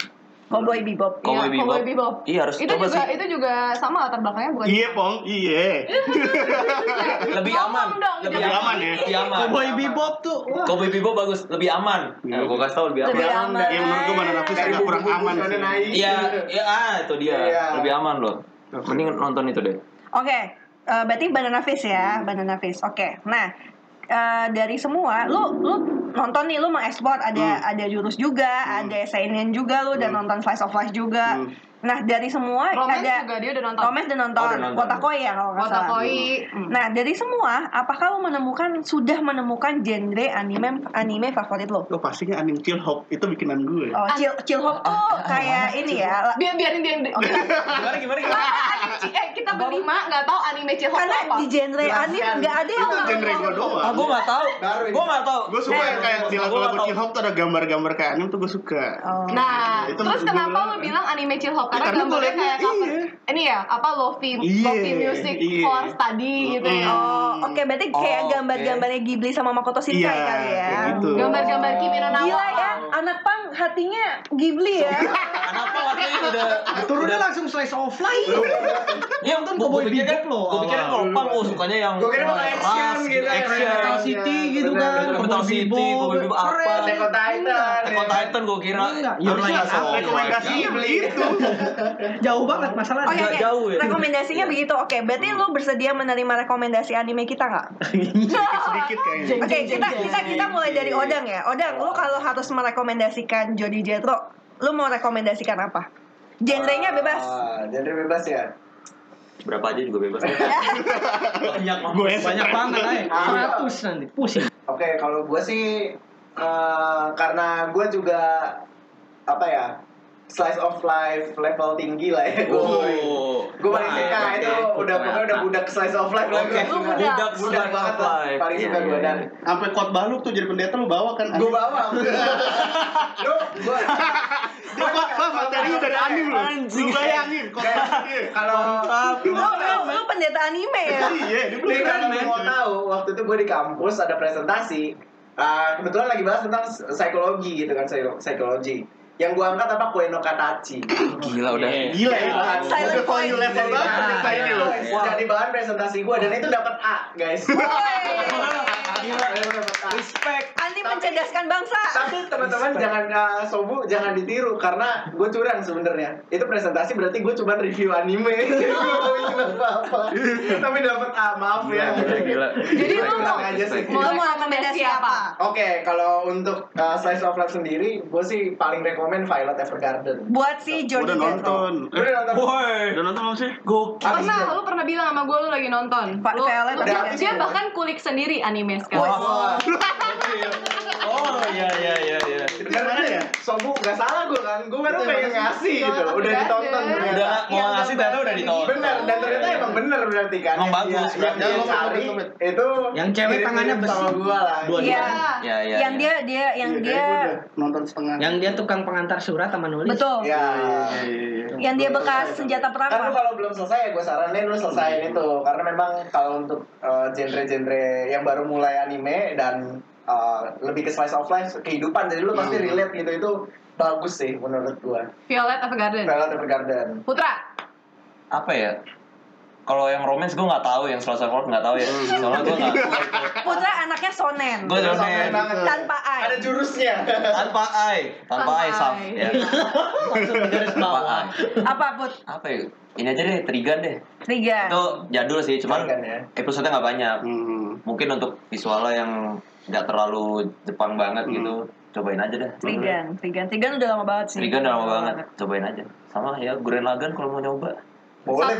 [SPEAKER 1] Cowboy Bebop.
[SPEAKER 3] Cowboy
[SPEAKER 2] Iya,
[SPEAKER 3] Bebop.
[SPEAKER 2] Cowboy Bebop.
[SPEAKER 3] Iya, harus
[SPEAKER 2] itu
[SPEAKER 3] coba
[SPEAKER 2] juga,
[SPEAKER 3] sih.
[SPEAKER 2] Itu juga sama latar belakangnya bukan?
[SPEAKER 5] Iya pong, iya.
[SPEAKER 3] Lebih
[SPEAKER 2] Ngomong
[SPEAKER 3] aman.
[SPEAKER 2] dong, gitu.
[SPEAKER 3] Lebih
[SPEAKER 2] jangan
[SPEAKER 3] aman
[SPEAKER 5] begini.
[SPEAKER 3] ya. Lebih aman.
[SPEAKER 6] Cowboy Bebop tuh. wah.
[SPEAKER 3] Kopi Bibo bagus, lebih aman.
[SPEAKER 5] Iya.
[SPEAKER 3] Nah, gue kasih tau lebih aman.
[SPEAKER 1] Lebih
[SPEAKER 4] Yang
[SPEAKER 1] aman.
[SPEAKER 4] dari-
[SPEAKER 5] Yang menurut gua Banana Fish
[SPEAKER 4] dari
[SPEAKER 5] agak kurang
[SPEAKER 4] buku-buku
[SPEAKER 5] aman
[SPEAKER 4] Shonen
[SPEAKER 5] sih.
[SPEAKER 4] Ai.
[SPEAKER 3] Iya, iya, ah, itu dia.
[SPEAKER 4] Iya.
[SPEAKER 3] Lebih aman loh. Mending nonton itu deh.
[SPEAKER 1] Oke, eh, berarti banana fish ya, banana fish. Oke, nah eh, dari semua, lu lu nonton nih, lu mengekspor ada ada jurus juga, ada seinen juga, lu udah nonton slice of life juga.
[SPEAKER 5] Hmm.
[SPEAKER 1] Nah dari semua
[SPEAKER 2] Romance
[SPEAKER 1] ada
[SPEAKER 2] juga dia udah nonton.
[SPEAKER 1] romance dan nonton,
[SPEAKER 3] Oh, udah nonton.
[SPEAKER 1] Kotakoi ya kalau nggak salah.
[SPEAKER 2] Otakoi. Hmm.
[SPEAKER 1] Nah dari semua, apakah lu menemukan sudah menemukan genre anime anime favorit lo?
[SPEAKER 5] Lo Oh, pastinya anime chill hop itu bikinan gue.
[SPEAKER 1] Oh, chill chill hop tuh kayak ini ya. la-
[SPEAKER 2] Biar biarin dia.
[SPEAKER 3] Gimana gimana gimana?
[SPEAKER 2] Karena anime ci- eh kita berlima nggak tahu anime Cihok
[SPEAKER 1] Karena
[SPEAKER 2] apa.
[SPEAKER 1] di genre
[SPEAKER 5] Iya, kan.
[SPEAKER 1] anime eh, nggak ada yang
[SPEAKER 5] Itu genre gue
[SPEAKER 3] Ah,
[SPEAKER 5] doang.
[SPEAKER 3] gue nggak tahu.
[SPEAKER 4] Baru ini.
[SPEAKER 3] Gue nggak tahu.
[SPEAKER 5] Gue suka yang kayak di lagu-lagu chill hop tuh ada gambar-gambar kayak anime tuh gue suka.
[SPEAKER 1] Oh.
[SPEAKER 2] Nah,
[SPEAKER 5] Itu
[SPEAKER 2] terus
[SPEAKER 5] maksud
[SPEAKER 2] kenapa
[SPEAKER 5] gua.
[SPEAKER 2] lu bilang anime Cihok?
[SPEAKER 5] Ya,
[SPEAKER 2] Karena
[SPEAKER 5] karena gua
[SPEAKER 2] gambarnya
[SPEAKER 5] liatnya,
[SPEAKER 2] kayak cover.
[SPEAKER 5] iya.
[SPEAKER 2] Ini ya, apa lofi,
[SPEAKER 5] Iya,
[SPEAKER 2] lofi music
[SPEAKER 5] iya.
[SPEAKER 2] for study gitu ya.
[SPEAKER 1] Oh, oke berarti kayak
[SPEAKER 3] Oh,
[SPEAKER 1] gambar-gambarnya Ghibli sama Makoto Shinkai
[SPEAKER 5] Iya,
[SPEAKER 1] kali ya.
[SPEAKER 5] kayak gitu.
[SPEAKER 2] Gambar-gambar Kimi no Na wa.
[SPEAKER 1] Gila ya, anak pang hatinya Ghibli ya.
[SPEAKER 3] Kenapa waktu itu udah
[SPEAKER 6] Turunnya langsung slice of life.
[SPEAKER 4] kan?
[SPEAKER 3] Yang
[SPEAKER 6] nonton
[SPEAKER 3] gue
[SPEAKER 6] Cowboy
[SPEAKER 3] pikirnya
[SPEAKER 6] Bebop loh
[SPEAKER 3] Gue pikirnya
[SPEAKER 6] awal.
[SPEAKER 3] kalau pang oh sukanya yang
[SPEAKER 4] Gua kira mau
[SPEAKER 3] keras,
[SPEAKER 4] action gitu,
[SPEAKER 3] action.
[SPEAKER 6] Metal City
[SPEAKER 3] iya,
[SPEAKER 6] gitu
[SPEAKER 4] Bener,
[SPEAKER 6] kan.
[SPEAKER 4] bener.
[SPEAKER 3] Metal
[SPEAKER 6] Cowboy
[SPEAKER 3] City,
[SPEAKER 6] Bebop.
[SPEAKER 3] Cowboy Bebop apa.
[SPEAKER 6] Keren.
[SPEAKER 4] Attack on Titan.
[SPEAKER 3] Attack on Titan gue kira.
[SPEAKER 4] Iya,
[SPEAKER 3] "Oh,
[SPEAKER 6] Enggak,
[SPEAKER 3] Harusnya
[SPEAKER 6] Your Line
[SPEAKER 3] asal.
[SPEAKER 6] Up.
[SPEAKER 5] Rekomendasinya begitu.
[SPEAKER 6] Jauh banget masalahnya.
[SPEAKER 1] Oke, oke.
[SPEAKER 3] jauh ya.
[SPEAKER 1] Rekomendasinya begitu. Oke, berarti lu bersedia menerima rekomendasi anime kita nggak?
[SPEAKER 5] iya, Sedikit kayaknya.
[SPEAKER 1] Oke, kita kita kita mulai dari Odang ya. Odang, lu kalau harus merekomendasikan Jody Jetro, lu mau rekomendasikan apa? Genrenya bebas.
[SPEAKER 4] Ah, genre bebas ya.
[SPEAKER 3] Berapa aja juga bebas. Banyak banget.
[SPEAKER 5] Gue
[SPEAKER 6] Banyak banget lah
[SPEAKER 3] Ah.
[SPEAKER 6] Seratus nanti. Pusing.
[SPEAKER 4] Oke, kalau gue sih eh, karena gue juga apa ya slice of life level tinggi lah ya.
[SPEAKER 3] Oh.
[SPEAKER 4] Gue paling suka
[SPEAKER 3] Oke,
[SPEAKER 4] itu
[SPEAKER 3] oke.
[SPEAKER 4] udah pokoknya udah budak slice of life lah.
[SPEAKER 3] Oke,
[SPEAKER 4] Gua
[SPEAKER 3] budak,
[SPEAKER 4] budak, budak
[SPEAKER 3] slice
[SPEAKER 4] banget
[SPEAKER 3] of
[SPEAKER 4] lah.
[SPEAKER 3] life.
[SPEAKER 4] Paling suka
[SPEAKER 3] Iya,
[SPEAKER 4] gue
[SPEAKER 3] iya,
[SPEAKER 4] dan
[SPEAKER 3] iya.
[SPEAKER 5] Sampai kot baluk tuh jadi pendeta lu bawa kan.
[SPEAKER 4] gue bawa. Lu gue
[SPEAKER 5] Di khotbah materinya dari anime lu. Lu bayangin khotbah. Iya.
[SPEAKER 4] kalau
[SPEAKER 1] Lu, lu, lu pendeta anime ya.
[SPEAKER 5] Iya, dia
[SPEAKER 4] Nih
[SPEAKER 5] pendeta
[SPEAKER 4] kan
[SPEAKER 5] anime.
[SPEAKER 4] mau tahu waktu itu gue di kampus ada presentasi ah, kebetulan lagi bahas tentang psikologi gitu kan psiko- psikologi yang gue angkat apa kue no katachi Ah,
[SPEAKER 3] Gila udah.
[SPEAKER 4] Iya.
[SPEAKER 5] Gila ya.
[SPEAKER 1] Silent
[SPEAKER 5] Udah for
[SPEAKER 1] voice.
[SPEAKER 5] you level banget pendeta ini lu.
[SPEAKER 4] Wah. jadi bahan presentasi gue dan itu dapat A guys
[SPEAKER 3] Gila.
[SPEAKER 4] Itu dapet A.
[SPEAKER 3] Respect.
[SPEAKER 1] Anime mencerdaskan bangsa.
[SPEAKER 4] tapi teman-teman jangan ah, sobu jangan ditiru karena gue curang sebenarnya itu presentasi berarti gue cuma review anime Jadi gue nggak bikin apa-apa tapi dapat A maaf ya
[SPEAKER 3] Gila, gila.
[SPEAKER 2] Jadi lu
[SPEAKER 4] Kurang
[SPEAKER 2] mau
[SPEAKER 4] aja sih.
[SPEAKER 2] mau
[SPEAKER 1] Lu mau
[SPEAKER 2] rekomendasi
[SPEAKER 1] rekomendasi
[SPEAKER 2] apa?
[SPEAKER 1] apa?
[SPEAKER 4] Oke, kalau untuk uh, slice of life sendiri, gue sih paling rekommend Violet Evergarden.
[SPEAKER 1] Buat si
[SPEAKER 5] Gua
[SPEAKER 1] Jody
[SPEAKER 5] Udah
[SPEAKER 1] Jetro.
[SPEAKER 5] nonton.
[SPEAKER 4] Gue
[SPEAKER 5] Eh,
[SPEAKER 4] udah nonton.
[SPEAKER 5] Udah
[SPEAKER 3] Woi.
[SPEAKER 5] nonton belum sih?
[SPEAKER 3] Gokil.
[SPEAKER 2] Pernah, lu pernah bilang sama gue lu lagi nonton.
[SPEAKER 1] Pak,
[SPEAKER 2] Lu-
[SPEAKER 1] PLN
[SPEAKER 2] lu-
[SPEAKER 4] tapi
[SPEAKER 2] dia-
[SPEAKER 4] habis
[SPEAKER 2] dia
[SPEAKER 4] ya.
[SPEAKER 2] bahkan kulik sendiri anime sekarang.
[SPEAKER 3] Wah. Oh, iya iya iya iya.
[SPEAKER 4] Itu Karena ya, sobu gak salah gue kan, gue baru pengen ngasih gitu,
[SPEAKER 2] Violet
[SPEAKER 4] udah ditonton
[SPEAKER 2] Evergarden.
[SPEAKER 4] ternyata.
[SPEAKER 3] Udah mau
[SPEAKER 1] Yang
[SPEAKER 3] ngasih ternyata udah ditonton.
[SPEAKER 4] Bener, dan ternyata emang bener berarti kan.
[SPEAKER 3] Emang
[SPEAKER 4] Yang
[SPEAKER 3] bagus,
[SPEAKER 4] dia- Yang dia
[SPEAKER 5] bagus.
[SPEAKER 4] cari itu
[SPEAKER 6] Yang cewek
[SPEAKER 4] mirip-mirip
[SPEAKER 6] tangannya besi.
[SPEAKER 4] sama gue lah.
[SPEAKER 6] Dua.
[SPEAKER 1] Iya.
[SPEAKER 3] Iya, iya,
[SPEAKER 1] Yang
[SPEAKER 3] iya.
[SPEAKER 1] dia dia yang
[SPEAKER 5] Iya,
[SPEAKER 1] dia
[SPEAKER 5] kayaknya gua udah Nonton setengah.
[SPEAKER 6] Yang dia tukang pengantar surat sama nulis.
[SPEAKER 1] betul.
[SPEAKER 4] Ya.
[SPEAKER 5] Iya, iya, iya.
[SPEAKER 1] Yang dia bekas senjata
[SPEAKER 4] Kan lu
[SPEAKER 1] perang.
[SPEAKER 4] kalau belum selesai ya gue saranin lu selesaiin itu Karena memang kalau untuk uh, genre-genre yang baru mulai anime dan uh, lebih ke slice of life kehidupan Jadi lu pasti
[SPEAKER 3] Hmm.
[SPEAKER 4] relate gitu, itu bagus sih menurut gue
[SPEAKER 2] Hmm. Violet Evergarden.
[SPEAKER 4] Violet Evergarden
[SPEAKER 2] Putra,
[SPEAKER 3] Apa ya? kalau yang romance gue nggak tahu, yang Slice of Life nggak tahu ya. Soalnya gue nggak.
[SPEAKER 1] Putra anaknya sonen.
[SPEAKER 3] Gue
[SPEAKER 4] Sonen
[SPEAKER 3] romance
[SPEAKER 4] banget.
[SPEAKER 1] Tanpa ai.
[SPEAKER 4] Ada jurusnya.
[SPEAKER 3] tanpa ai, tanpa ai sam. Ya.
[SPEAKER 6] Langsung di garis
[SPEAKER 3] Tanpa
[SPEAKER 6] bawah.
[SPEAKER 3] ai.
[SPEAKER 1] Apa put?
[SPEAKER 3] Apa ya? Ini aja deh, Trigan deh.
[SPEAKER 1] Tiga.
[SPEAKER 3] Itu jadul sih, cuman
[SPEAKER 4] Trigun ya.
[SPEAKER 3] episode-nya nggak banyak.
[SPEAKER 5] Hmm.
[SPEAKER 3] Mungkin untuk visualnya yang nggak terlalu Jepang banget gitu, cobain aja dah.
[SPEAKER 1] Trigan, Trigan, Trigan udah lama banget sih.
[SPEAKER 3] Trigun udah lama banget, cobain aja. Sama ya Gurren Lagann kalau mau nyoba.
[SPEAKER 4] Boleh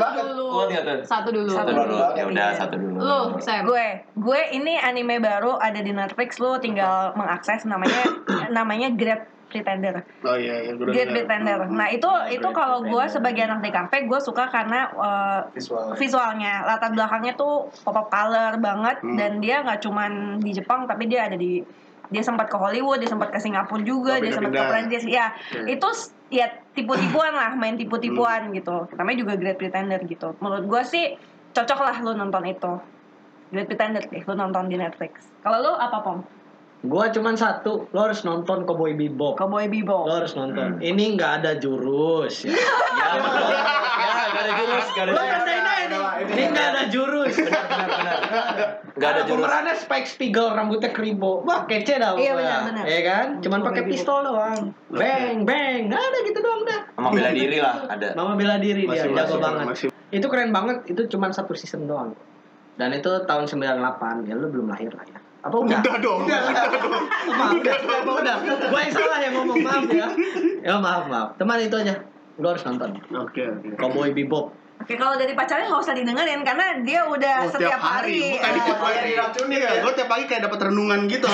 [SPEAKER 2] Satu
[SPEAKER 4] banget.
[SPEAKER 2] dulu.
[SPEAKER 3] Kuat nggak tuh?
[SPEAKER 2] Satu dulu.
[SPEAKER 3] Satu
[SPEAKER 4] Satu
[SPEAKER 3] dulu,
[SPEAKER 4] dulu.
[SPEAKER 3] ya udah satu dulu.
[SPEAKER 2] Lu, Sam.
[SPEAKER 1] Gue, gue ini anime baru ada di Netflix, lu tinggal mengakses namanya namanya Great Pretender.
[SPEAKER 5] Oh iya, iya. gua udah
[SPEAKER 1] Great
[SPEAKER 5] dengar.
[SPEAKER 1] Pretender.
[SPEAKER 5] Hmm.
[SPEAKER 1] Nah, itu itu kalau gue sebagai anak DKP, gue suka karena uh,
[SPEAKER 4] Visual.
[SPEAKER 1] visualnya, latar belakangnya tuh pop up color banget
[SPEAKER 5] Hmm.
[SPEAKER 1] dan dia nggak cuman di Jepang tapi dia ada di dia sempat ke Hollywood, dia sempat ke Singapura juga,
[SPEAKER 5] Oh,
[SPEAKER 1] dia sempat ke
[SPEAKER 5] pindah-pindah. Hmm.
[SPEAKER 1] Prancis. Ya,
[SPEAKER 5] Oke.
[SPEAKER 1] itu s- ya tipu-tipuan lah, main tipu-tipuan
[SPEAKER 5] Hmm.
[SPEAKER 1] gitu. Namanya juga Great Pretender gitu. Menurut gua sih cocok lah lu nonton itu. Great Pretender deh, lu nonton di Netflix. Kalau lu apa pom?
[SPEAKER 6] Gua cuman satu, lo harus nonton Cowboy Bebop.
[SPEAKER 1] Cowboy
[SPEAKER 6] Lo
[SPEAKER 1] Bebop.
[SPEAKER 6] harus
[SPEAKER 3] Hmm.
[SPEAKER 6] nonton. Ini nggak ada jurus. Ya,
[SPEAKER 3] Ya, betul. ya, gak ada jurus, gak ada
[SPEAKER 6] lo
[SPEAKER 3] jurus.
[SPEAKER 6] kendain aja nih. Ini nggak ada jurus.
[SPEAKER 3] Benar, benar, benar. Gak ada
[SPEAKER 6] Karena
[SPEAKER 3] jurus.
[SPEAKER 6] Pemerannya Ah, Spike Spiegel, rambutnya keribo. Wah, kece dah.
[SPEAKER 1] Iya,
[SPEAKER 6] pokoknya.
[SPEAKER 1] benar, benar.
[SPEAKER 6] Iya kan? Cuman
[SPEAKER 1] Cowboy
[SPEAKER 6] pakai
[SPEAKER 1] Bebop.
[SPEAKER 6] pistol doang. Bang, bang. Nggak ada gitu doang dah.
[SPEAKER 3] Sama bela diri lah, ada.
[SPEAKER 6] Mama bela diri dia,
[SPEAKER 5] Masih-
[SPEAKER 6] jago
[SPEAKER 5] masih-
[SPEAKER 6] banget.
[SPEAKER 5] masih-
[SPEAKER 6] Itu keren banget, itu cuman satu season doang. Dan itu tahun 98, ya lu belum lahir lah ya. Apa udah?
[SPEAKER 5] Udah dong.
[SPEAKER 6] Udah, udah. Maaf, udah, udah, udah. Gua yang salah yang ngomong, maaf ya. Ya maaf, maaf. Teman itu aja. Lu harus nonton.
[SPEAKER 5] Oke, oke.
[SPEAKER 6] Cowboy Bebop.
[SPEAKER 1] Oke, kalau dari pacarnya nggak usah didengerin karena dia udah
[SPEAKER 5] Oh,
[SPEAKER 1] setiap hari.
[SPEAKER 5] bukan di
[SPEAKER 1] eh,
[SPEAKER 5] tiap hari.
[SPEAKER 4] Diracunin
[SPEAKER 5] Iya,
[SPEAKER 4] ya.
[SPEAKER 5] gue tiap pagi kayak dapat renungan gitu.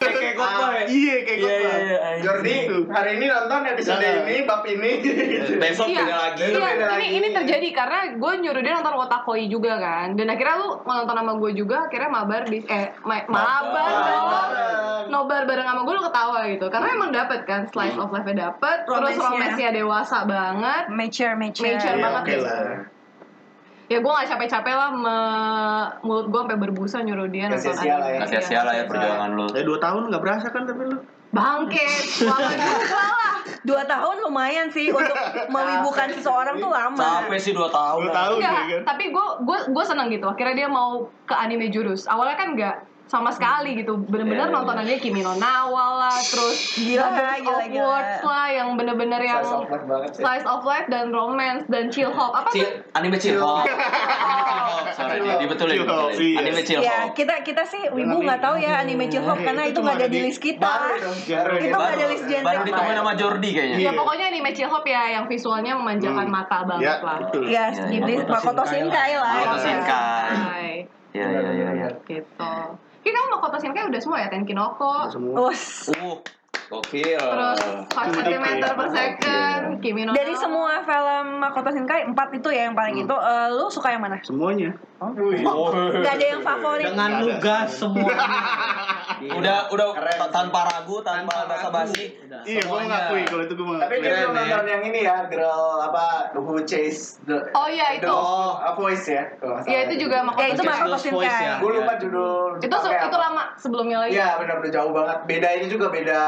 [SPEAKER 3] Kayak
[SPEAKER 5] Ah, Iya, Gitu. kayak gue.
[SPEAKER 3] Iya, iya, iya.
[SPEAKER 4] Jordi, hari ini nonton episode
[SPEAKER 5] Nah.
[SPEAKER 4] ini, bab ini.
[SPEAKER 3] Besok
[SPEAKER 2] Iya,
[SPEAKER 3] beda lagi.
[SPEAKER 2] iya,
[SPEAKER 4] Beda
[SPEAKER 2] ini,
[SPEAKER 4] lagi.
[SPEAKER 2] ini terjadi karena gue nyuruh dia nonton Wotakoi juga kan Dan akhirnya lu nonton sama gue juga, akhirnya mabar di, eh, ma- mabar dong Nobar bareng sama gue lu ketawa gitu Karena emang dapet kan, slice of life-nya dapet Terus
[SPEAKER 1] Romance-nya.
[SPEAKER 2] romance-nya dewasa banget
[SPEAKER 1] Mature, mature.
[SPEAKER 2] Mature
[SPEAKER 5] Iya,
[SPEAKER 2] banget
[SPEAKER 5] oke
[SPEAKER 2] deh.
[SPEAKER 5] lah.
[SPEAKER 2] Ya gue gak capek-capek lah me- Mulut gue sampai berbusa nyuruh dia
[SPEAKER 4] Nggak
[SPEAKER 2] nonton
[SPEAKER 4] sia-sia lah ya.
[SPEAKER 2] anime.
[SPEAKER 3] Gak sia-sia lah ya perjuangan lu.
[SPEAKER 5] Ya dua tahun nggak berasa kan tapi lu.
[SPEAKER 2] Bangke, walau juga lah
[SPEAKER 1] Dua tahun lumayan sih untuk mewibukan seseorang tuh lama.
[SPEAKER 3] Capek sih 2 tahun.
[SPEAKER 5] Dua tahun ya
[SPEAKER 2] Enggak,
[SPEAKER 5] kan.
[SPEAKER 2] tapi gue gue gue seneng gitu. Akhirnya dia mau ke anime jurus. Awalnya kan enggak sama sekali gitu. Bener-bener
[SPEAKER 3] Iya, iya.
[SPEAKER 2] nontonannya Kimi no Nawa lah, terus
[SPEAKER 1] Gila,
[SPEAKER 2] Book
[SPEAKER 1] gila,
[SPEAKER 2] of
[SPEAKER 1] gila.
[SPEAKER 2] Words lah yang bener-bener yang
[SPEAKER 4] Slice of life banget sih.
[SPEAKER 2] slice of life dan romance dan chill hop apa tuh?
[SPEAKER 3] Cil, anime Cil Hop. Anime Cil Hop, sorry. Di di betulin,
[SPEAKER 5] Cil Hop,
[SPEAKER 3] betulin.
[SPEAKER 5] iya.
[SPEAKER 3] Anime Cil
[SPEAKER 1] Ya,
[SPEAKER 3] Hop.
[SPEAKER 1] kita kita sih wibu nggak tahu ya anime chill hop
[SPEAKER 5] Iya,
[SPEAKER 1] karena
[SPEAKER 5] itu
[SPEAKER 1] itu
[SPEAKER 5] tuh
[SPEAKER 1] nggak ada
[SPEAKER 5] nggak
[SPEAKER 1] di
[SPEAKER 5] ada
[SPEAKER 1] list
[SPEAKER 4] Baru
[SPEAKER 1] kita.
[SPEAKER 4] dong, baru
[SPEAKER 1] Itu
[SPEAKER 4] ya.
[SPEAKER 1] nggak ada list genre.
[SPEAKER 3] Baru ditemuin sama Jordi kayaknya.
[SPEAKER 2] Ya pokoknya anime chill hop ya yang visualnya memanjakan
[SPEAKER 5] Hmm.
[SPEAKER 2] mata
[SPEAKER 5] Ya,
[SPEAKER 2] banget lah.
[SPEAKER 5] betul.
[SPEAKER 1] Ya,
[SPEAKER 3] Iya,
[SPEAKER 1] di
[SPEAKER 3] iya.
[SPEAKER 1] list Makoto
[SPEAKER 6] Makoto
[SPEAKER 1] Shinkai
[SPEAKER 6] Shinkai
[SPEAKER 1] lah.
[SPEAKER 3] Makoto
[SPEAKER 1] ya.
[SPEAKER 3] Shinkai.
[SPEAKER 2] Hai,
[SPEAKER 3] Iya, iya, iya. iya.
[SPEAKER 2] gitu. Oke, kamu mau kotasin kayak udah semua ya Tenkinoko.
[SPEAKER 5] Semua.
[SPEAKER 1] Us.
[SPEAKER 3] Uh, gokil.
[SPEAKER 2] Terus 5 cm per second, Kimi no
[SPEAKER 1] Dari
[SPEAKER 2] Nawa.
[SPEAKER 1] semua film Makoto Shinkai empat itu ya yang paling itu eh, lu suka yang mana?
[SPEAKER 5] Semuanya.
[SPEAKER 3] Oh,
[SPEAKER 1] Gak ada yang favorit.
[SPEAKER 6] Dengan lugas semua.
[SPEAKER 3] Udah, udah
[SPEAKER 4] Keren.
[SPEAKER 3] ta- tanpa ragu, Iya. tanpa
[SPEAKER 6] Tanpa
[SPEAKER 3] basa
[SPEAKER 6] ragu.
[SPEAKER 3] basi.
[SPEAKER 6] Udah.
[SPEAKER 5] Iya, gue ngakui kalau itu gue
[SPEAKER 4] Tapi
[SPEAKER 5] ngakui.
[SPEAKER 4] dia belum
[SPEAKER 6] Keren, ya.
[SPEAKER 4] nonton yang ini ya, girl apa, who chase the,
[SPEAKER 2] Oh, iya,
[SPEAKER 4] the
[SPEAKER 2] itu.
[SPEAKER 4] a voice ya. kalau nggak
[SPEAKER 2] Ya
[SPEAKER 4] salah.
[SPEAKER 2] itu juga Makoto
[SPEAKER 1] Ya itu
[SPEAKER 2] Shinkai.
[SPEAKER 1] Makoto
[SPEAKER 6] Lost Voice ya.
[SPEAKER 1] Shinkai.
[SPEAKER 4] Gue lupa judul.
[SPEAKER 2] Itu se-
[SPEAKER 4] Jepangnya
[SPEAKER 2] itu
[SPEAKER 4] apa.
[SPEAKER 2] lama sebelumnya lagi.
[SPEAKER 4] Iya benar benar jauh banget. Beda ini juga beda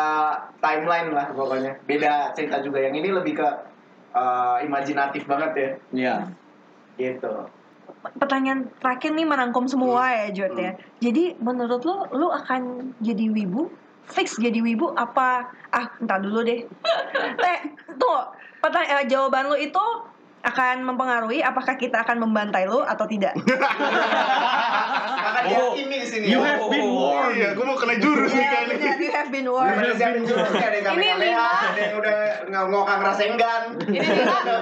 [SPEAKER 4] timeline lah pokoknya. Beda cerita juga. Yang ini lebih ke eh, imajinatif banget ya.
[SPEAKER 6] Iya.
[SPEAKER 4] Gitu.
[SPEAKER 1] Pertanyaan terakhir nih merangkum semua ya Jod ya. Jadi menurut lu lu akan jadi wibu? Fix jadi wibu apa? Ah, entar dulu deh. eh, tuh pertanyaan jawaban lu itu akan mempengaruhi apakah kita akan membantai lu atau tidak?
[SPEAKER 4] Akan
[SPEAKER 3] Oh.
[SPEAKER 4] dihakimi di sini.
[SPEAKER 5] You
[SPEAKER 4] ya.
[SPEAKER 5] have been warned. Iya, gue mau kena jurus nih
[SPEAKER 1] Ya,
[SPEAKER 5] kali.
[SPEAKER 1] benar, you have been
[SPEAKER 4] Udah
[SPEAKER 1] warned.
[SPEAKER 4] pada siapin jurusnya ada
[SPEAKER 2] Ini
[SPEAKER 4] yang kamehameha,
[SPEAKER 2] lima.
[SPEAKER 4] ada yang udah nggak ngokang rasenggan.
[SPEAKER 2] Ini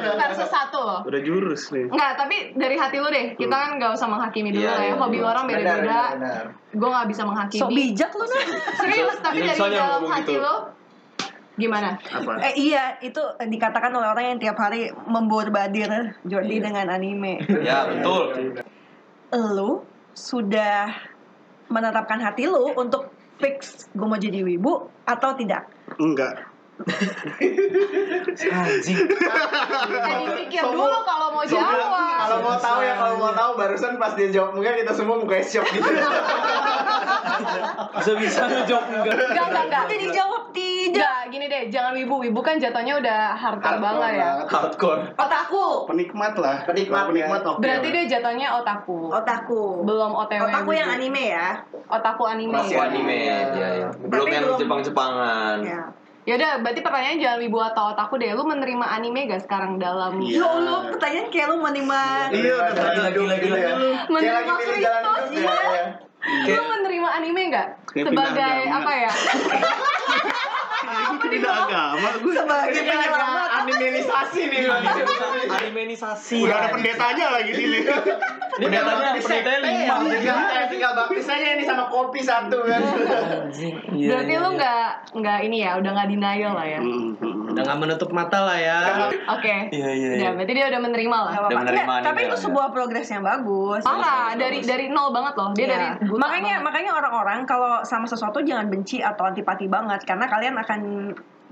[SPEAKER 2] lima versus satu loh.
[SPEAKER 5] Udah jurus nih.
[SPEAKER 2] Enggak, tapi dari hati lu deh. Kita kan nggak usah menghakimi dulu
[SPEAKER 3] Iya,
[SPEAKER 2] lah ya.
[SPEAKER 3] iya,
[SPEAKER 2] Hobi
[SPEAKER 3] iya.
[SPEAKER 2] orang
[SPEAKER 4] Benar,
[SPEAKER 2] beda-beda.
[SPEAKER 4] benar, benar.
[SPEAKER 2] Gue nggak bisa
[SPEAKER 1] So
[SPEAKER 2] menghakimi.
[SPEAKER 1] bijak lu nah.
[SPEAKER 2] Serius, tapi dari
[SPEAKER 5] Biasanya
[SPEAKER 2] dalam
[SPEAKER 5] ngomong
[SPEAKER 2] hati
[SPEAKER 5] gitu.
[SPEAKER 2] lu gimana?
[SPEAKER 5] Apa?
[SPEAKER 1] Eh iya, itu dikatakan oleh orang yang tiap hari memborbadir Jordi
[SPEAKER 3] Iya.
[SPEAKER 1] dengan anime.
[SPEAKER 3] Ya, betul.
[SPEAKER 1] lu sudah menetapkan hati lu untuk fix gue mau jadi wibu atau tidak?
[SPEAKER 5] Enggak.
[SPEAKER 2] Jadi pikir dulu kalau mau
[SPEAKER 4] Kalau
[SPEAKER 2] jawab.
[SPEAKER 4] mau tahu ya, kalau mau tahu barusan pas dia jawab mungkin kita semua mukanya shock gitu.
[SPEAKER 3] Bisa-bisa lu jawab enggak.
[SPEAKER 2] Enggak, enggak, enggak.
[SPEAKER 1] Tapi dijawab tidak.
[SPEAKER 2] Enggak, gini deh, jangan wibu. Wibu kan jatuhnya udah harta
[SPEAKER 4] Hardcore
[SPEAKER 2] banget ya.
[SPEAKER 4] banget.
[SPEAKER 6] Hardcore.
[SPEAKER 1] Otaku.
[SPEAKER 5] Penikmat lah.
[SPEAKER 4] Penikmat,
[SPEAKER 5] Kalau penikmat
[SPEAKER 4] ya.
[SPEAKER 5] oke.
[SPEAKER 2] Berarti
[SPEAKER 5] lah.
[SPEAKER 2] dia jatuhnya otaku.
[SPEAKER 1] Otaku.
[SPEAKER 2] Belum OTW.
[SPEAKER 1] Otaku yang
[SPEAKER 2] wibu.
[SPEAKER 1] anime ya.
[SPEAKER 2] Otaku anime.
[SPEAKER 4] Masih
[SPEAKER 3] Masih anime. Iya, iya. Belum
[SPEAKER 1] Tapi
[SPEAKER 3] yang
[SPEAKER 1] belum-
[SPEAKER 3] Jepang-Jepangan.
[SPEAKER 1] Ya.
[SPEAKER 2] Ya udah, berarti pertanyaannya jangan wibu atau otaku deh. Lu menerima anime gak sekarang dalam
[SPEAKER 5] Iya.
[SPEAKER 1] Ya Allah, pertanyaan kayak lu menerima
[SPEAKER 5] Iya, udah
[SPEAKER 4] Lagi-
[SPEAKER 5] tanya
[SPEAKER 4] lagi-
[SPEAKER 5] lagi
[SPEAKER 4] lagi-
[SPEAKER 5] lagi lu.
[SPEAKER 4] Kayak lagi
[SPEAKER 2] menerima
[SPEAKER 4] pilih jalan
[SPEAKER 2] Kristus?
[SPEAKER 4] hidup ya, ya.
[SPEAKER 2] Lu menerima anime gak?
[SPEAKER 5] Kayak
[SPEAKER 2] Sebagai
[SPEAKER 5] pindah agama.
[SPEAKER 2] apa ya?
[SPEAKER 5] Ini pindah agama gue.
[SPEAKER 1] sebagai penyelamat.
[SPEAKER 4] Animalisasi nih
[SPEAKER 3] Animenisasi.
[SPEAKER 5] Udah ada pendetanya lagi di sini.
[SPEAKER 3] Ini pendetanya, pendetanya lima.
[SPEAKER 6] gitu.
[SPEAKER 4] Tinggal tinggal baptis aja ini sama kopi satu kan.
[SPEAKER 2] Berarti lu nggak nggak ini ya, udah nggak denial lah ya.
[SPEAKER 5] Hmm, hmm, hmm.
[SPEAKER 6] Udah nggak menutup mata lah ya.
[SPEAKER 2] Oke.
[SPEAKER 3] Iya, iya, iya.
[SPEAKER 2] Udah, berarti dia udah menerima lah.
[SPEAKER 1] Nggak apa-apa.
[SPEAKER 3] Udah menerima
[SPEAKER 1] Nggak, tapi
[SPEAKER 3] anime
[SPEAKER 1] itu
[SPEAKER 3] lah, ya.
[SPEAKER 1] sebuah progres yang bagus.
[SPEAKER 2] Parah, dari dari nol banget loh. Dia
[SPEAKER 1] Iya.
[SPEAKER 2] dari buta
[SPEAKER 1] makanya
[SPEAKER 2] banget.
[SPEAKER 1] makanya orang-orang kalau sama sesuatu jangan benci atau antipati banget karena kalian akan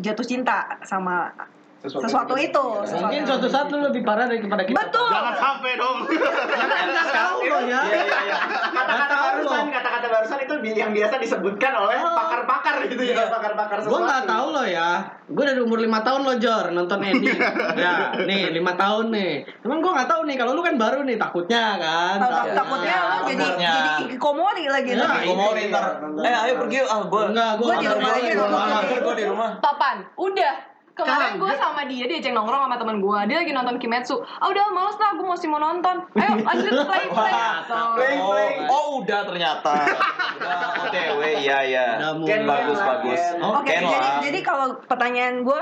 [SPEAKER 1] jatuh cinta sama sesuatu, itu. Sesuatu
[SPEAKER 6] Mungkin
[SPEAKER 1] yang-
[SPEAKER 6] suatu saat lu lebih parah daripada kita.
[SPEAKER 1] Betul.
[SPEAKER 5] Jangan sampai dong.
[SPEAKER 6] Karena kan? nggak tahu loh ya.
[SPEAKER 4] Iya, iya, iya. Kata-kata
[SPEAKER 6] Nggak tahu
[SPEAKER 4] barusan,
[SPEAKER 6] loh.
[SPEAKER 4] kata-kata barusan itu bi- yang biasa disebutkan oleh
[SPEAKER 1] Oh.
[SPEAKER 4] pakar-pakar gitu ya, pakar-pakar sesuatu.
[SPEAKER 6] Gue nggak tahu loh ya. Gue dari umur 5 tahun lo Jor nonton Edi. ya, nih 5 tahun nih. Cuman gue nggak tahu nih kalau lu kan baru nih takutnya kan.
[SPEAKER 1] Tahu- tak- takutnya lo jadi
[SPEAKER 3] Iya. Takutnya.
[SPEAKER 1] jadi ikikomori lagi
[SPEAKER 6] Iya.
[SPEAKER 1] lo.
[SPEAKER 3] Gue mau nih, ntar. Eh, ayo pergi yuk. Ah, gue.
[SPEAKER 6] Enggak, gue
[SPEAKER 1] iya, Gua di rumah aja nonton.
[SPEAKER 3] Gue di rumah.
[SPEAKER 2] Topan, udah. Kemarin
[SPEAKER 6] Kan.
[SPEAKER 2] gue sama dia, dia ceng nongkrong sama teman gue. Dia lagi nonton Kimetsu. Ah udah males lah, gue masih mau nonton. Ayo lanjut play play.
[SPEAKER 4] Play,
[SPEAKER 3] Oh,
[SPEAKER 4] play.
[SPEAKER 3] oh udah ternyata. Udah OTW, iya iya.
[SPEAKER 6] Udah mulai.
[SPEAKER 3] Ken bagus
[SPEAKER 4] Ken.
[SPEAKER 3] bagus. Oh,
[SPEAKER 1] Oke,
[SPEAKER 3] Ken
[SPEAKER 1] jadi
[SPEAKER 3] lah.
[SPEAKER 1] jadi kalau pertanyaan gue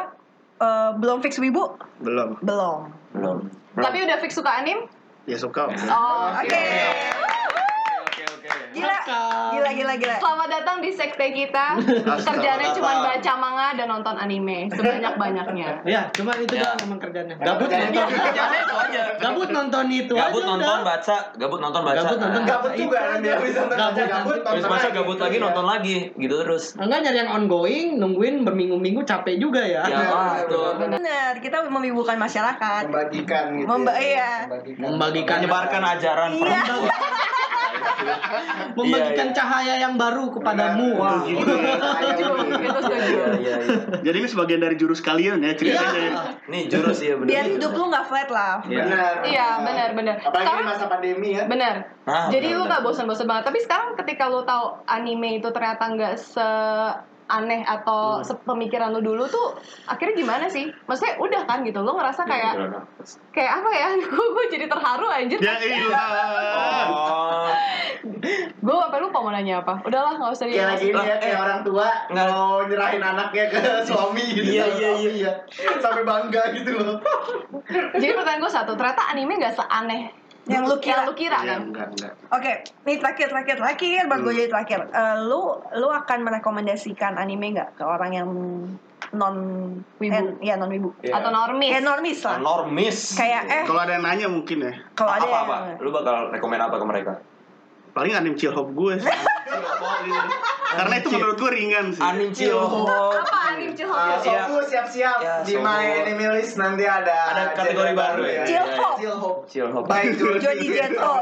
[SPEAKER 1] eh, belum fix wibu
[SPEAKER 5] Belum.
[SPEAKER 1] belum.
[SPEAKER 3] belum.
[SPEAKER 2] Tapi udah fix suka anim?
[SPEAKER 5] Ya suka. udah.
[SPEAKER 2] Oh,
[SPEAKER 1] Oke.
[SPEAKER 3] Oke oke.
[SPEAKER 1] Gila.
[SPEAKER 6] Welcome.
[SPEAKER 1] Gila gila gila.
[SPEAKER 2] Selamat datang di sekte kita. Kerjanya cuma baca manga dan nonton anime sebanyak-banyaknya.
[SPEAKER 6] Ya, cuman itu
[SPEAKER 3] Ya.
[SPEAKER 6] doang emang kerjanya. Gabut
[SPEAKER 1] Iya.
[SPEAKER 4] Kerjanya
[SPEAKER 6] nonton.
[SPEAKER 3] Kerjanya itu aja.
[SPEAKER 6] Gabut nonton itu
[SPEAKER 3] Gabut
[SPEAKER 6] aja
[SPEAKER 3] nonton
[SPEAKER 6] udah.
[SPEAKER 3] baca, gabut nonton baca.
[SPEAKER 6] Gabut nonton,
[SPEAKER 3] Ah.
[SPEAKER 4] Gabut juga nanti habis
[SPEAKER 6] Gabut,
[SPEAKER 4] nonton baca gabut.
[SPEAKER 6] nanti.
[SPEAKER 3] Habis
[SPEAKER 4] nonton
[SPEAKER 3] baca gabut
[SPEAKER 4] Iya.
[SPEAKER 3] lagi nonton lagi gitu terus.
[SPEAKER 6] Enggak nyari yang ongoing, nungguin berminggu-minggu capek juga ya.
[SPEAKER 3] Ya lah itu.
[SPEAKER 1] Benar, kita mewibukan masyarakat.
[SPEAKER 4] Membagikan gitu.
[SPEAKER 1] Memba-
[SPEAKER 4] ya.
[SPEAKER 1] iya.
[SPEAKER 4] Membagikan.
[SPEAKER 6] Membagikan
[SPEAKER 3] Menyebarkan ajaran.
[SPEAKER 1] Iya.
[SPEAKER 6] membagikan
[SPEAKER 3] Iya, iya.
[SPEAKER 6] cahaya yang baru kepadamu.
[SPEAKER 4] Benar.
[SPEAKER 6] Wah.
[SPEAKER 4] Gitu.
[SPEAKER 2] Setuju, itu setuju.
[SPEAKER 3] Iya iya iya.
[SPEAKER 5] Jadi ini sebagian dari jurus kalian ya ceritanya.
[SPEAKER 3] Nih jurus ya bener.
[SPEAKER 1] Biar hidup lu nggak flat lah.
[SPEAKER 4] Benar.
[SPEAKER 2] Iya, benar, benar.
[SPEAKER 4] Apalagi
[SPEAKER 2] Sekarang-
[SPEAKER 4] di masa pandemi ya.
[SPEAKER 2] Bener.
[SPEAKER 3] Ah,
[SPEAKER 2] Jadi
[SPEAKER 3] bener,
[SPEAKER 2] lu
[SPEAKER 3] bener.
[SPEAKER 2] gak bosan-bosan banget. Tapi sekarang ketika lu tahu anime itu ternyata nggak se aneh atau sepemikiran lu dulu tuh akhirnya gimana sih? Maksudnya udah kan gitu. Lu
[SPEAKER 3] Iya,
[SPEAKER 2] ngerasa kayak kayak apa ya? gue jadi terharu anjir.
[SPEAKER 4] Iya.
[SPEAKER 5] Ya ilah.
[SPEAKER 3] Oh.
[SPEAKER 2] Gue sampai lupa mau nanya apa. Udahlah nggak usah
[SPEAKER 4] Kayak lagi
[SPEAKER 2] di
[SPEAKER 4] ini ya,
[SPEAKER 3] Lah,
[SPEAKER 4] kayak
[SPEAKER 3] eh.
[SPEAKER 4] orang tua
[SPEAKER 3] Nggak.
[SPEAKER 4] mau nyerahin anaknya ke suami gitu.
[SPEAKER 3] Iya,
[SPEAKER 4] sama
[SPEAKER 3] iya,
[SPEAKER 4] suami ya. Sampai bangga gitu loh.
[SPEAKER 2] Jadi pertanyaan gue satu, ternyata anime nggak seaneh
[SPEAKER 1] Yang lu kira.
[SPEAKER 2] yang lu kira
[SPEAKER 5] Ya
[SPEAKER 2] kan?
[SPEAKER 5] enggak enggak.
[SPEAKER 1] Oke, ini terakhir, terakhir, terakhir, buat gue jadi terakhir. Eh, lu, lu akan merekomendasikan anime nggak ke orang yang non
[SPEAKER 2] Wibu.
[SPEAKER 1] eh, ya non wibu.
[SPEAKER 4] Iya.
[SPEAKER 2] Atau normis?
[SPEAKER 1] Ya normis
[SPEAKER 3] iya.
[SPEAKER 1] lah.
[SPEAKER 3] Normis.
[SPEAKER 1] Kayak eh
[SPEAKER 5] Kalau ada yang nanya mungkin ya.
[SPEAKER 1] kalau ada
[SPEAKER 3] apa
[SPEAKER 1] yang
[SPEAKER 3] apa? Lu bakal rekomend apa ke mereka?
[SPEAKER 5] Paling anime chill hop gue sih. Karena itu menurut gue ringan sih.
[SPEAKER 3] Anim Cilhok.
[SPEAKER 2] Apa anime Cihok?
[SPEAKER 4] Ah,
[SPEAKER 3] Iya.
[SPEAKER 4] Sofu siap-siap
[SPEAKER 3] Ya,
[SPEAKER 4] di
[SPEAKER 3] Sofu.
[SPEAKER 4] My Enemy List nanti ada Iya,
[SPEAKER 3] Ada kategori
[SPEAKER 4] genre
[SPEAKER 3] baru ya.
[SPEAKER 1] Chill hop.
[SPEAKER 4] Chill Hope.
[SPEAKER 3] Chill hop.
[SPEAKER 4] By Jody
[SPEAKER 1] Jody Jetro.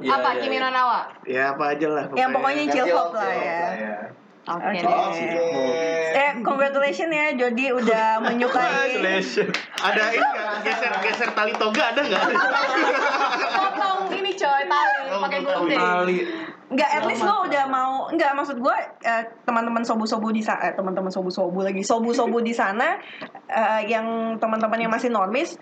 [SPEAKER 3] Iya,
[SPEAKER 2] apa
[SPEAKER 3] iya,
[SPEAKER 2] Kimi
[SPEAKER 3] iya.
[SPEAKER 2] no Na wa?
[SPEAKER 5] Ya apa aja lah.
[SPEAKER 1] Yang pokoknya
[SPEAKER 4] Chill
[SPEAKER 1] chill hop
[SPEAKER 4] Hope
[SPEAKER 1] lah ya. Oke.
[SPEAKER 2] Oke. deh.
[SPEAKER 4] Oh, Oke.
[SPEAKER 1] Eh, congratulations ya, Jody udah menyukai.
[SPEAKER 5] Ada ini nggak? geser geser tali toga ada nggak?
[SPEAKER 2] Potong ini coy tali pakai gunting.
[SPEAKER 3] Tali.
[SPEAKER 1] Enggak, at least lo udah mau. Enggak, maksud gue eh, teman-teman sobu-sobu di sana, teman-teman sobu-sobu lagi, sobu-sobu di sana eh, yang teman-teman yang masih normis,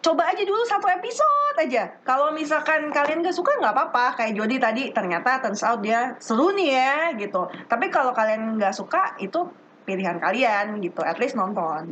[SPEAKER 1] coba aja dulu satu episode aja. Kalau misalkan kalian gak suka nggak apa-apa, kayak Jody tadi ternyata turns out dia seru nih ya gitu. Tapi kalau kalian nggak suka itu pilihan kalian gitu, at least nonton.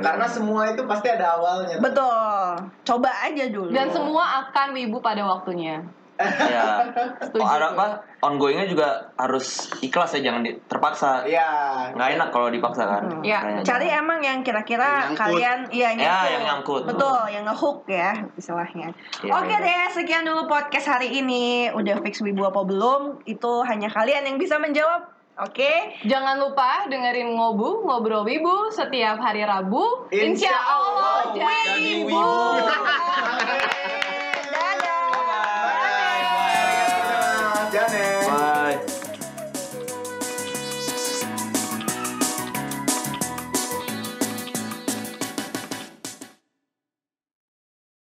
[SPEAKER 3] Iya.
[SPEAKER 4] Karena semua itu pasti ada awalnya.
[SPEAKER 1] Betul, coba aja dulu.
[SPEAKER 2] Dan semua akan wibu pada waktunya.
[SPEAKER 3] Ya.
[SPEAKER 2] Setuju.
[SPEAKER 3] Oh, ada apa? Ongoingnya juga harus ikhlas ya, jangan di- terpaksa.
[SPEAKER 4] Iya.
[SPEAKER 3] Nggak enak kalau dipaksa kan.
[SPEAKER 1] Hmm.
[SPEAKER 2] Iya.
[SPEAKER 3] Makanya
[SPEAKER 1] Cari
[SPEAKER 3] jangan.
[SPEAKER 1] emang yang kira-kira
[SPEAKER 5] Yang nyangkut.
[SPEAKER 1] kalian iya
[SPEAKER 3] Ya, yang nyangkut.
[SPEAKER 1] Betul, yang ngehook ya istilahnya.
[SPEAKER 3] Iya,
[SPEAKER 1] Oke
[SPEAKER 3] iya.
[SPEAKER 1] deh, sekian dulu podcast hari ini. Udah fix wibu apa belum? Itu hanya kalian yang bisa menjawab. Oke.
[SPEAKER 2] Jangan lupa dengerin ngobu ngobrol wibu setiap hari Rabu. Insya
[SPEAKER 4] Insya
[SPEAKER 2] Ya Allah
[SPEAKER 4] Allah,
[SPEAKER 2] jadi
[SPEAKER 3] jadi
[SPEAKER 2] wibu.
[SPEAKER 3] wibu.
[SPEAKER 1] Dadah.
[SPEAKER 4] Bye. Janet.